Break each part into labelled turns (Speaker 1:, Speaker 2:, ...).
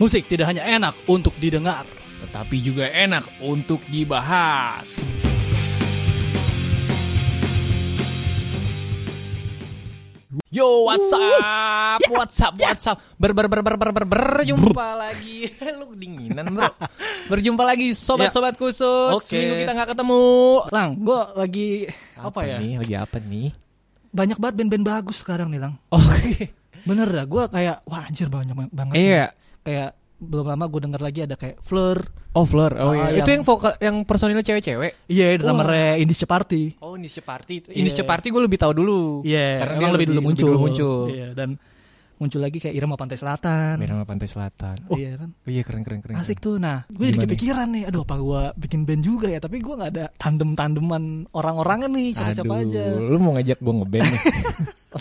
Speaker 1: Musik tidak hanya enak untuk didengar.
Speaker 2: tetapi juga enak untuk dibahas. Yo, what's up?
Speaker 1: ya.
Speaker 2: What's up? What's up? Ber ber ber ber ber ber berjumpa lagi. Lu dinginan, Bro. Berjumpa lagi sobat-sobat khusus.
Speaker 1: Ya. Oke.
Speaker 2: Seminggu kita nggak ketemu.
Speaker 1: Lang, gue lagi apa, ya?
Speaker 2: Nih, lagi apa nih?
Speaker 1: Banyak banget band-band bagus sekarang nih, Lang. iya.
Speaker 2: Oke.
Speaker 1: Bener dah, gue kayak wah anjir banyak banget.
Speaker 2: Iya.
Speaker 1: Kayak belum lama gue denger lagi ada kayak Fleur,
Speaker 2: Oh, Fleur. Oh
Speaker 1: Ah,
Speaker 2: iya. Itu
Speaker 1: yang-
Speaker 2: yang vokal yang personilnya cewek-cewek.
Speaker 1: iya drummernya Indische Party.
Speaker 2: Oh, Indische Party itu.
Speaker 1: Iya.
Speaker 2: Indische Party gue lebih tahu dulu.
Speaker 1: Iya,
Speaker 2: Karena
Speaker 1: emang
Speaker 2: dia
Speaker 1: lebih, dulu muncul.
Speaker 2: dulu muncul.
Speaker 1: Iya, dan muncul lagi kayak Irama Pantai Selatan.
Speaker 2: Mirama Pantai Selatan. Oh,
Speaker 1: Iya kan?
Speaker 2: iya keren keren keren.
Speaker 1: Asik tuh. Nah, gue jadi
Speaker 2: Gimana?
Speaker 1: kepikiran nih, aduh apa gue bikin band juga ya, tapi gue nggak ada tandem-tandeman orang-orangnya nih, siapa siapa
Speaker 2: Aduh,
Speaker 1: aja.
Speaker 2: Lu mau ngajak gue ngeband nih.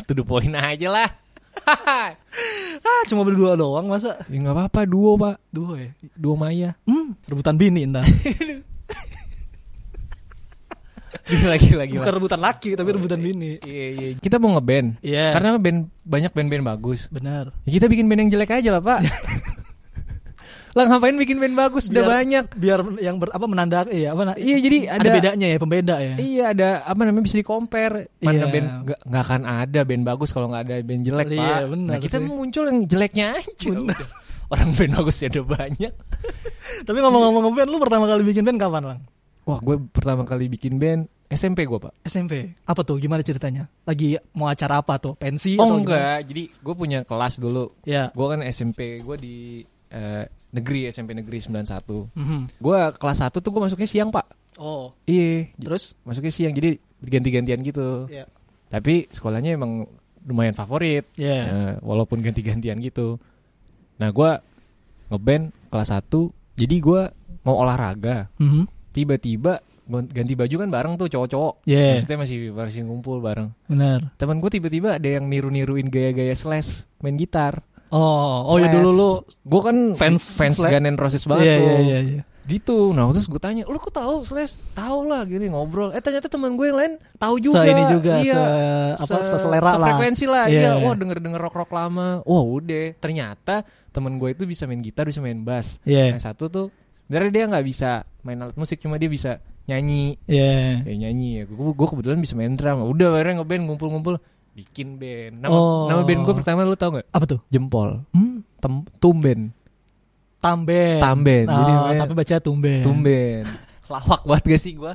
Speaker 2: to the point aja lah.
Speaker 1: Ah, cuma berdua doang masa?
Speaker 2: ya nggak apa-apa duo pak,
Speaker 1: Duo ya.
Speaker 2: duo Maya.
Speaker 1: Hmm, rebutan bini entar.
Speaker 2: Iya, lagi lagi.
Speaker 1: Bukan rebutan laki, tapi rebutan bini.
Speaker 2: Iya iya. Kita mau ngeband.
Speaker 1: Iya.
Speaker 2: Karena band banyak band-band bagus.
Speaker 1: Benar.
Speaker 2: Ya, kita bikin band yang jelek aja lah pak. lah ngapain bikin band bagus? Udah
Speaker 1: Biar-
Speaker 2: banyak.
Speaker 1: Biar yang ber, apa menandak iya apa na-
Speaker 2: Iya jadi
Speaker 1: ada,
Speaker 2: ada,
Speaker 1: bedanya ya, pembeda ya.
Speaker 2: Iya ada apa namanya bisa di compare
Speaker 1: Iya.
Speaker 2: mana band nggak nggak akan ada band bagus kalau nggak ada band jelek
Speaker 1: Iya,
Speaker 2: pak.
Speaker 1: benar
Speaker 2: nah kita
Speaker 1: sih.
Speaker 2: muncul yang jeleknya aja. udah. Orang band bagus ya ada banyak.
Speaker 1: Tapi ngomong-ngomong band, lu pertama kali bikin band kapan, Lang?
Speaker 2: Wah gue pertama kali bikin band SMP gue pak.
Speaker 1: SMP. Apa tuh? Gimana ceritanya? Lagi mau acara apa tuh? Pensi atau
Speaker 2: oh
Speaker 1: gimana?
Speaker 2: enggak, jadi gue punya kelas dulu.
Speaker 1: Ya.
Speaker 2: Gue kan SMP gue di eh, negeri SMP negeri 91.
Speaker 1: Mhm.
Speaker 2: Gue kelas 1 tuh gue masuknya siang pak.
Speaker 1: Oh,
Speaker 2: Iya. j-
Speaker 1: terus?
Speaker 2: Masuknya siang jadi ganti-gantian gitu.
Speaker 1: Iya.
Speaker 2: Tapi sekolahnya emang lumayan favorit.
Speaker 1: Iya.
Speaker 2: Eh, walaupun ganti-gantian gitu. Nah gue ngeband kelas 1 jadi gue mau olahraga.
Speaker 1: Mhm.
Speaker 2: Tiba-tiba gon- ganti baju kan bareng tuh cowok-cowok.
Speaker 1: Iya.
Speaker 2: Maksudnya masih masih ngumpul bareng.
Speaker 1: Benar.
Speaker 2: Temen gue tiba-tiba ada yang niru-niruin gaya-gaya Slash main gitar.
Speaker 1: Oh, oh ya dulu lu
Speaker 2: gue kan
Speaker 1: fans
Speaker 2: fans
Speaker 1: Slash.
Speaker 2: Guns N' Roses banget
Speaker 1: Iya,
Speaker 2: tuh.
Speaker 1: iya, iya, iya.
Speaker 2: Gitu. Nah terus gue tanya, lu kok tahu Slash? Tahu lah gini ngobrol. Eh ternyata teman gue yang lain tahu
Speaker 1: Se
Speaker 2: juga.
Speaker 1: ini juga
Speaker 2: Iya.
Speaker 1: se apa seselera lah.
Speaker 2: Sefrekuensi lah.
Speaker 1: Iya.
Speaker 2: Iya. Wah denger denger rock rock lama. Wah udah. Ternyata teman gue itu bisa main gitar, bisa main bass.
Speaker 1: Iya.
Speaker 2: Yang satu tuh, sebenarnya dia nggak bisa main alat musik, cuma dia bisa nyanyi.
Speaker 1: Iya.
Speaker 2: Ya nyanyi ya. Gue gue kebetulan bisa main drum. Udah akhirnya ngeband ngumpul-ngumpul bikin band. Nama,
Speaker 1: Oh.
Speaker 2: nama band gue pertama lu tau nggak?
Speaker 1: Apa tuh?
Speaker 2: Jempol.
Speaker 1: Hmm,
Speaker 2: Tem, tumben.
Speaker 1: tamben.
Speaker 2: Tamben.
Speaker 1: Oh,
Speaker 2: Jadi namanya
Speaker 1: tapi baca tumben.
Speaker 2: tumben. Lawak banget gak sih gue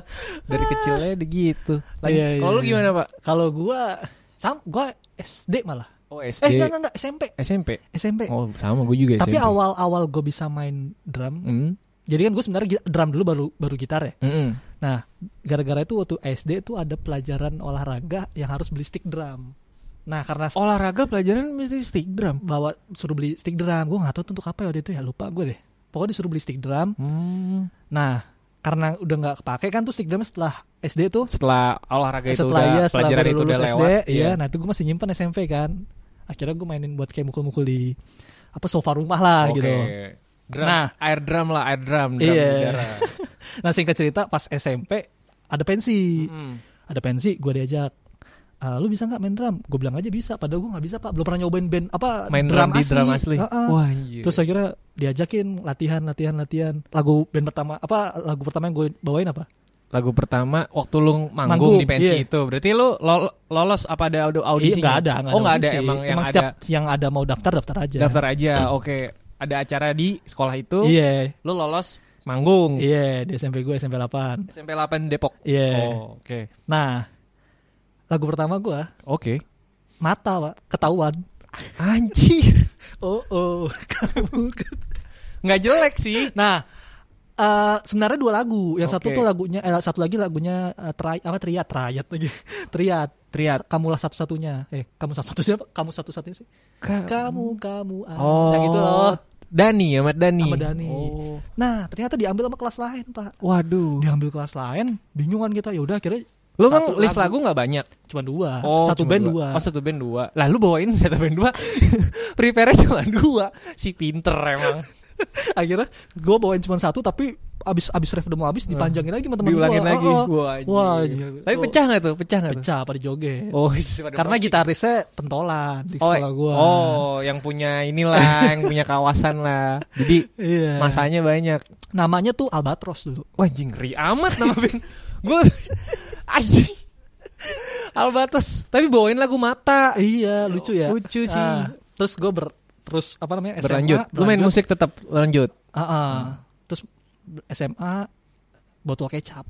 Speaker 2: dari kecilnya udah gitu. Lagi
Speaker 1: Iya, iya,
Speaker 2: kalau lu
Speaker 1: iya.
Speaker 2: gimana pak?
Speaker 1: Kalau gua sam gua SD malah.
Speaker 2: Oh
Speaker 1: Eh,
Speaker 2: SD,
Speaker 1: enggak enggak enggak SMP.
Speaker 2: SMP.
Speaker 1: SMP.
Speaker 2: Oh sama gue juga
Speaker 1: Tapi
Speaker 2: SMP.
Speaker 1: awal-awal gue bisa main drum.
Speaker 2: Hmm.
Speaker 1: Jadi kan gue sebenarnya gi- drum dulu baru baru gitar ya.
Speaker 2: Mm-mm.
Speaker 1: Nah, gara-gara itu waktu SD itu ada pelajaran olahraga yang harus beli stick drum. Nah, karena
Speaker 2: Olahraga pelajaran mesti stick drum.
Speaker 1: bawa suruh beli stick drum, gue nggak tahu tuh untuk apa ya waktu itu ya lupa gue deh. Pokoknya disuruh beli stick drum.
Speaker 2: Hmm.
Speaker 1: Nah, karena udah nggak kepake kan tuh stick drum setelah SD tuh
Speaker 2: Setelah olahraga itu
Speaker 1: setelah
Speaker 2: udah
Speaker 1: iya, setelah
Speaker 2: pelajaran
Speaker 1: baru
Speaker 2: itu udah
Speaker 1: lulus
Speaker 2: lewat.
Speaker 1: SD, iya. Nah, itu gue masih nyimpen SMP kan. Akhirnya gue mainin buat kayak mukul-mukul di apa sofa rumah lah
Speaker 2: Oke.
Speaker 1: gitu.
Speaker 2: Drum,
Speaker 1: Nah.
Speaker 2: air drum lah, air drum, drum
Speaker 1: Iya.
Speaker 2: udara.
Speaker 1: Nah, singkat cerita pas SMP ada pensi.
Speaker 2: Mm.
Speaker 1: ada pensi gue diajak "Ah, lu bisa nggak main drum gue bilang aja bisa padahal gue nggak bisa pak belum pernah nyobain band apa
Speaker 2: Main drum, di drum asli.
Speaker 1: Heeh.
Speaker 2: Wah, anjir.
Speaker 1: terus akhirnya diajakin latihan latihan latihan lagu band pertama apa lagu pertama yang gue bawain apa
Speaker 2: lagu pertama waktu
Speaker 1: Manggung,
Speaker 2: lu manggung, di pensi
Speaker 1: iya.
Speaker 2: itu. Berarti lu lol- lolos apa ada audio audisi?
Speaker 1: Iya, nggak ada nggak
Speaker 2: oh, nggak ada
Speaker 1: audisi.
Speaker 2: emang yang ada
Speaker 1: setiap yang ada mau daftar daftar aja
Speaker 2: daftar aja. Oke. Ada acara di sekolah itu.
Speaker 1: iya
Speaker 2: Lu lolos manggung.
Speaker 1: iya di SMP gue SMP 8
Speaker 2: SMP 8 Depok.
Speaker 1: iya
Speaker 2: Oh, oke.
Speaker 1: nah lagu pertama gue
Speaker 2: Oke.
Speaker 1: mata pak ketahuan
Speaker 2: Anjir.
Speaker 1: oh oh kamu ket-
Speaker 2: Nggak jelek sih.
Speaker 1: Nah, eh sebenarnya dua lagu. Yang satu
Speaker 2: Oke.
Speaker 1: tuh lagunya, eh, satu lagi lagunya eh, tri, apa triat, triat lagi, triat.
Speaker 2: Triat.
Speaker 1: Kamulah satu-satunya. Eh, kamu satu-satunya apa? Kamu satu-satunya sih. Kamu, kamu. ah.
Speaker 2: Oh.
Speaker 1: Yang itu loh.
Speaker 2: Dani, Ahmad Dani.
Speaker 1: Sama Dani.
Speaker 2: Oh.
Speaker 1: Nah, ternyata diambil sama kelas lain, Pak.
Speaker 2: Waduh.
Speaker 1: Diambil kelas lain, bingungan kita. Ya udah akhirnya
Speaker 2: Lu
Speaker 1: satu
Speaker 2: emang list lagu nggak banyak?
Speaker 1: cuma dua.
Speaker 2: Oh,
Speaker 1: satu
Speaker 2: cuma
Speaker 1: band dua.
Speaker 2: Oh, satu band dua. Lah lu bawain satu band dua. Prepare-nya cuma dua. Si pinter emang.
Speaker 1: akhirnya gue bawain cuma satu tapi abis abis ref demo abis dipanjangin lagi sama teman
Speaker 2: Diulangin
Speaker 1: gua.
Speaker 2: lagi.
Speaker 1: Oh, oh.
Speaker 2: Wah, anjir.
Speaker 1: Wah, anjir.
Speaker 2: Tapi
Speaker 1: Tuh.
Speaker 2: pecah nggak tuh? Pecah nggak tuh?
Speaker 1: pecah pada joget.
Speaker 2: Oh, isi pada
Speaker 1: Karena
Speaker 2: musik.
Speaker 1: gitarisnya pentolan di
Speaker 2: Oh,
Speaker 1: sekolah gua.
Speaker 2: Oh, yang punya inilah, yang punya kawasan lah. Jadi
Speaker 1: Iya.
Speaker 2: masanya banyak.
Speaker 1: Namanya tuh Albatros dulu.
Speaker 2: Wah, anjing ngeri amat nama band. Gue anjing. Albatas, tapi bawain lagu mata.
Speaker 1: Iya, lucu ya.
Speaker 2: Lucu sih.
Speaker 1: Ah, terus gue ber terus apa namanya SMA,
Speaker 2: berlanjut. Lu main musik tetap lanjut.
Speaker 1: Ah, ah. terus SMA botol kecap.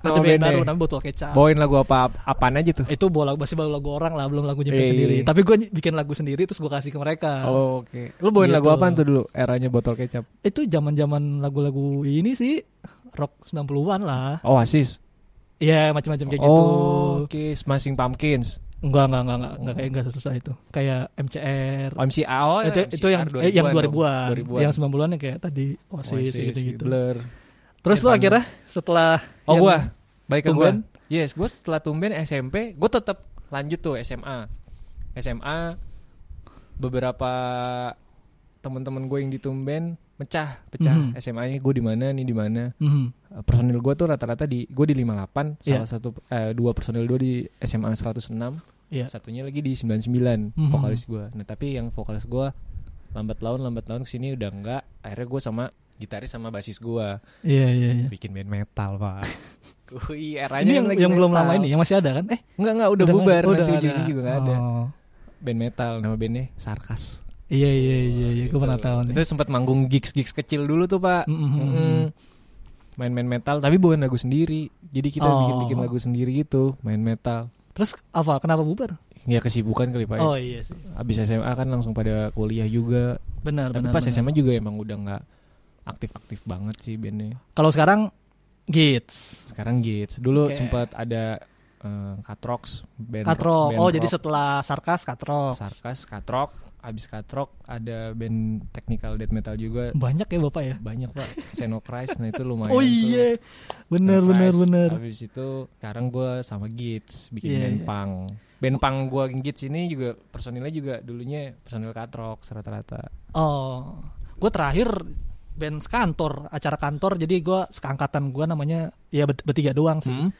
Speaker 1: Ada band
Speaker 2: Nama Oh, bandnya.
Speaker 1: baru namanya botol kecap.
Speaker 2: Bawain lagu apa apaan aja tuh?
Speaker 1: itu bola masih baru lagu orang lah belum lagu nyiptain
Speaker 2: Iya.
Speaker 1: sendiri tapi gue bikin lagu sendiri terus gue kasih ke mereka
Speaker 2: Oh, oke. Lu bawain
Speaker 1: Gitu.
Speaker 2: lagu apaan tuh dulu? Eranya botol kecap.
Speaker 1: itu zaman zaman lagu-lagu ini sih rock 90-an lah
Speaker 2: Oh, Oasis.
Speaker 1: ya macam-macam kayak gitu
Speaker 2: oh, oke. Smashing Pumpkins.
Speaker 1: enggak enggak enggak enggak, enggak kayak enggak sesusah itu kayak MCR
Speaker 2: MCA. Oh,
Speaker 1: itu,
Speaker 2: MCR
Speaker 1: itu yang eh, yang 2000-an,
Speaker 2: 2000-an.
Speaker 1: yang 90-an yang kayak tadi
Speaker 2: Oh,
Speaker 1: Oasis gitu gitu
Speaker 2: Blur.
Speaker 1: terus lu
Speaker 2: Nirvana.
Speaker 1: akhirnya setelah
Speaker 2: Oh,
Speaker 1: yang-
Speaker 2: gua. Baik ke gua.
Speaker 1: Tumben?
Speaker 2: Yes, gua setelah tumben SMP, gua tetap lanjut tuh SMA. SMA beberapa teman-teman gue yang di tumben mecah, pecah.
Speaker 1: Mhm.
Speaker 2: SMA-nya gue di mana, nih di mana.
Speaker 1: Mhm.
Speaker 2: Eh, personil gue tuh rata-rata di gue di 58
Speaker 1: Iya.
Speaker 2: salah satu eh, dua personil gue di SMA 106
Speaker 1: Iya.
Speaker 2: satunya lagi di 99
Speaker 1: Mhm.
Speaker 2: vokalis gue nah tapi yang vokalis gue lambat laun lambat laun kesini udah enggak akhirnya gue sama gitaris sama basis gue
Speaker 1: iya iya iya
Speaker 2: bikin band metal pak Wih, eranya
Speaker 1: ini yang,
Speaker 2: lagi
Speaker 1: yang belum
Speaker 2: metal.
Speaker 1: lama ini yang masih ada kan eh
Speaker 2: enggak enggak udah,
Speaker 1: nggak-
Speaker 2: bubar
Speaker 1: oh,
Speaker 2: nanti
Speaker 1: nggak
Speaker 2: ujungnya juga enggak ada
Speaker 1: Oh.
Speaker 2: band metal nama bandnya sarkas
Speaker 1: iya iya iya iya gue
Speaker 2: Gitu.
Speaker 1: pernah tahu nih
Speaker 2: itu sempat manggung gigs gigs kecil dulu tuh pak
Speaker 1: Mm, mm, mm,
Speaker 2: Mm-mm. main-main metal tapi bukan lagu sendiri jadi kita
Speaker 1: Oh.
Speaker 2: bikin bikin lagu sendiri gitu main metal
Speaker 1: Terus apa? Kenapa bubar?
Speaker 2: ya kesibukan kali pak ya.
Speaker 1: Oh iya sih.
Speaker 2: abis SMA kan langsung pada kuliah juga
Speaker 1: Benar, benar.
Speaker 2: tapi pas
Speaker 1: benar.
Speaker 2: SMA juga emang udah nggak aktif-aktif banget sih bandnya
Speaker 1: Kalau sekarang Gits.
Speaker 2: sekarang Gates dulu
Speaker 1: Oke.
Speaker 2: sempat ada eh, Katrox band
Speaker 1: Katrok.
Speaker 2: band
Speaker 1: Oh, jadi
Speaker 2: rock.
Speaker 1: setelah Sarkas Katrok.
Speaker 2: Sarkas Katrok abis Katrok ada band technical death metal juga
Speaker 1: Banyak ya Bapak ya?
Speaker 2: banyak pak Xenocrise nah itu lumayan
Speaker 1: oh
Speaker 2: tuh.
Speaker 1: iya. Benar, benar,
Speaker 2: Sunrise.
Speaker 1: benar.
Speaker 2: Habis itu sekarang gue sama Gits bikin
Speaker 1: Iya,
Speaker 2: band
Speaker 1: iya.
Speaker 2: punk. Band punk gue Gits ini juga personilnya juga dulunya personil katrok rata-rata.
Speaker 1: Oh. Gue terakhir band sekantor, acara kantor. Jadi gua seangkatan gua namanya ya bet- bertiga doang sih.
Speaker 2: Hmm?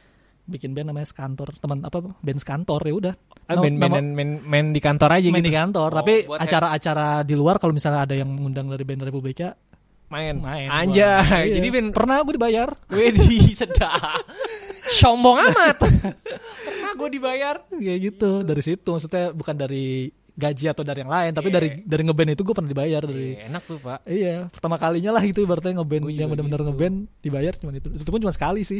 Speaker 1: Bikin band namanya sekantor. Teman apa? Band sekantor ya udah.
Speaker 2: Ah,
Speaker 1: Nama-
Speaker 2: band band
Speaker 1: nama-
Speaker 2: main, main di kantor aja
Speaker 1: main
Speaker 2: gitu.
Speaker 1: di kantor,
Speaker 2: Oh,
Speaker 1: tapi
Speaker 2: buat
Speaker 1: acara-acara di luar kalau misalnya ada yang mengundang dari band Republika
Speaker 2: Main.
Speaker 1: main. gua.
Speaker 2: Anjay.
Speaker 1: Iya.
Speaker 2: Jadi band
Speaker 1: pernah gue dibayar.
Speaker 2: Wedi sedap. Sombong amat. Pernah gue dibayar.
Speaker 1: kayak gitu dari situ maksudnya bukan dari gaji atau dari yang lain
Speaker 2: Iya.
Speaker 1: tapi dari dari ngeband itu gue pernah dibayar dari
Speaker 2: Eh, enak tuh pak.
Speaker 1: iya pertama kalinya lah itu ibaratnya ngeband
Speaker 2: Gua juga gitu. Hmm.
Speaker 1: yang benar-benar ngeband dibayar cuma itu itu pun cuma sekali sih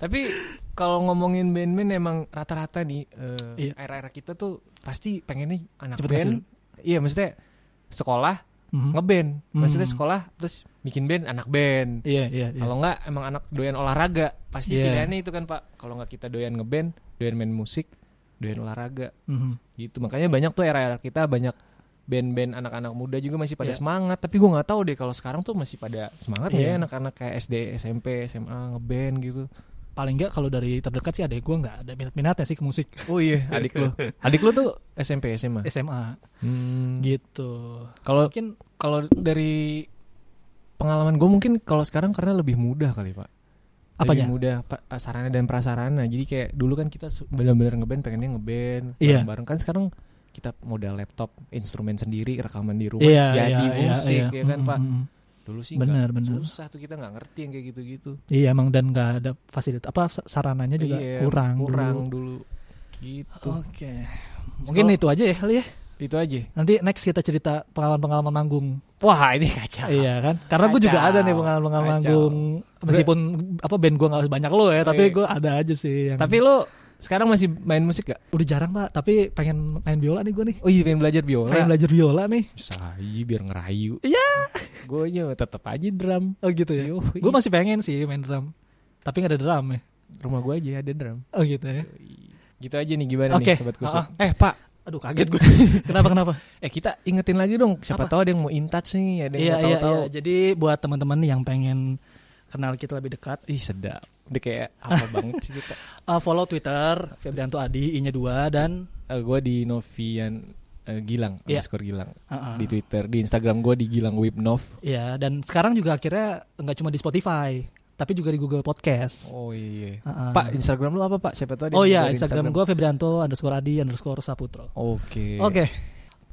Speaker 2: Tapi kalau ngomongin band-band emang rata-rata nih eh
Speaker 1: Iya.
Speaker 2: era-era kita tuh pasti pengennya anak
Speaker 1: Cepet
Speaker 2: band. Iya maksudnya sekolah
Speaker 1: Mhm.
Speaker 2: ngeband. Maksudnya
Speaker 1: Hmm.
Speaker 2: sekolah terus bikin band anak band.
Speaker 1: iya iya iya
Speaker 2: Kalau nggak emang anak doyan olahraga pasti
Speaker 1: Iya.
Speaker 2: pilihannya itu kan pak. Kalau nggak kita doyan ngeband, doyan main musik, doyan olahraga
Speaker 1: Mhm.
Speaker 2: gitu. Makanya banyak tuh era-era kita banyak band-band anak-anak muda juga masih pada
Speaker 1: Iya.
Speaker 2: semangat. Tapi gua nggak tahu deh kalau sekarang tuh masih pada semangat
Speaker 1: Iya.
Speaker 2: ya anak-anak kayak SD, SMP, SMA ngeband gitu.
Speaker 1: paling nggak kalau dari terdekat sih ada gue nggak ada minat-minatnya sih ke musik
Speaker 2: Oh iya adik lu, adik lu tuh SMP SMA.
Speaker 1: SMA
Speaker 2: Hmm.
Speaker 1: gitu
Speaker 2: Kalau
Speaker 1: mungkin
Speaker 2: kalau dari pengalaman gue mungkin kalau sekarang karena lebih mudah kali pak
Speaker 1: Apanya?
Speaker 2: lebih mudah pa- sarana dan prasarana jadi kayak dulu kan kita su- benar-benar ngeband pengennya ngeband
Speaker 1: Iya.
Speaker 2: bareng kan sekarang kita modal laptop instrumen sendiri rekaman di rumah
Speaker 1: iya
Speaker 2: jadi
Speaker 1: iya, iya,
Speaker 2: musik
Speaker 1: iya.
Speaker 2: ya kan pak
Speaker 1: Mhm.
Speaker 2: dulu sih
Speaker 1: Benar,
Speaker 2: nggak-
Speaker 1: benar.
Speaker 2: susah tuh kita nggak ngerti yang kayak gitu-gitu
Speaker 1: iya emang dan nggak ada fasilitas apa sa- sarananya juga
Speaker 2: Iya,
Speaker 1: kurang dulu. Oh.
Speaker 2: kurang dulu, gitu
Speaker 1: oke mungkin
Speaker 2: Kalau-
Speaker 1: itu aja ya kali ya
Speaker 2: itu aja
Speaker 1: nanti next kita cerita pengalaman-pengalaman manggung
Speaker 2: wah ini kacau
Speaker 1: Iya kan? Karena gue
Speaker 2: Kacau.
Speaker 1: juga ada nih pengalaman-pengalaman
Speaker 2: Kacau.
Speaker 1: manggung meskipun apa band gue nggak banyak lo ya, tapi
Speaker 2: Iya.
Speaker 1: gue ada aja sih. Yang,
Speaker 2: tapi lo sekarang masih main musik gak?
Speaker 1: udah jarang pak, tapi pengen main biola nih gue nih.
Speaker 2: Oh iya pengen belajar biola.
Speaker 1: Pengen belajar biola nih.
Speaker 2: Bisa aja biar ngerayu.
Speaker 1: Iya.
Speaker 2: Gue aja tetap aja drum.
Speaker 1: Oh gitu ya.
Speaker 2: Yoi.
Speaker 1: Gue masih pengen sih main drum, tapi nggak ada drum ya.
Speaker 2: Rumah gue aja ada drum.
Speaker 1: Oh gitu ya.
Speaker 2: Gitu aja nih gimana
Speaker 1: Oke.
Speaker 2: nih sobat kusut.
Speaker 1: Ah,
Speaker 2: Eh pak,
Speaker 1: Aduh kaget gue. kenapa kenapa?
Speaker 2: eh kita ingetin lagi dong. Siapa
Speaker 1: Apa?
Speaker 2: tahu ada yang mau in touch nih, ada yang
Speaker 1: Iya
Speaker 2: mau
Speaker 1: iya
Speaker 2: tahu-tahu.
Speaker 1: iya. Jadi buat teman-teman yang pengen kenal kita lebih dekat, uh,
Speaker 2: Ih sedap. Udah kayak apa banget sih kita.
Speaker 1: eh, follow Twitter Febrianto Adi, I-nya 2 dan
Speaker 2: gue di Novian eh, Gilang
Speaker 1: Iya.
Speaker 2: underscore Gilang
Speaker 1: Heeh.
Speaker 2: di Twitter di Instagram gue di Gilang Wipnov
Speaker 1: Iya, dan sekarang juga akhirnya nggak cuma di Spotify, tapi juga di Google Podcast.
Speaker 2: oh iya
Speaker 1: Heeh.
Speaker 2: Pak Instagram lu apa Pak siapa tahu ada
Speaker 1: Oh
Speaker 2: yang
Speaker 1: iya,
Speaker 2: dari
Speaker 1: Instagram Iya. gue Febrianto underscore Adi underscore Saputro.
Speaker 2: oke
Speaker 1: Oke,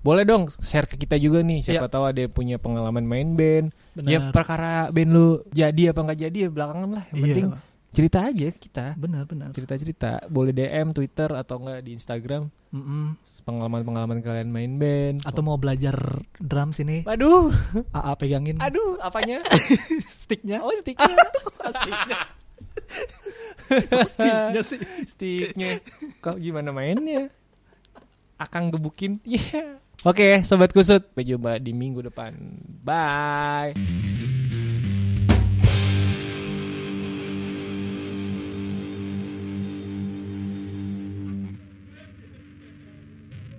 Speaker 2: boleh dong share ke kita juga nih
Speaker 1: Iya.
Speaker 2: siapa tahu ada yang punya pengalaman main band
Speaker 1: Benar.
Speaker 2: ya perkara band lu jadi apa nggak jadi ya belakangan lah yang
Speaker 1: Iya.
Speaker 2: penting cerita aja ke kita
Speaker 1: benar-benar.
Speaker 2: cerita-cerita boleh DM Twitter atau enggak di Instagram
Speaker 1: Mm-mm.
Speaker 2: pengalaman-pengalaman kalian main band
Speaker 1: Atau mau belajar drum sini,
Speaker 2: Aduh,
Speaker 1: AA pegangin
Speaker 2: aduh, apanya?
Speaker 1: sticknya.
Speaker 2: Oh, sticknya.
Speaker 1: Pastinya. Pastinya sih.
Speaker 2: sticknya. Kok gimana mainnya? Akang gebukin. Iya. Oke, sobat kusut. Sampai jumpa di minggu depan. Bye.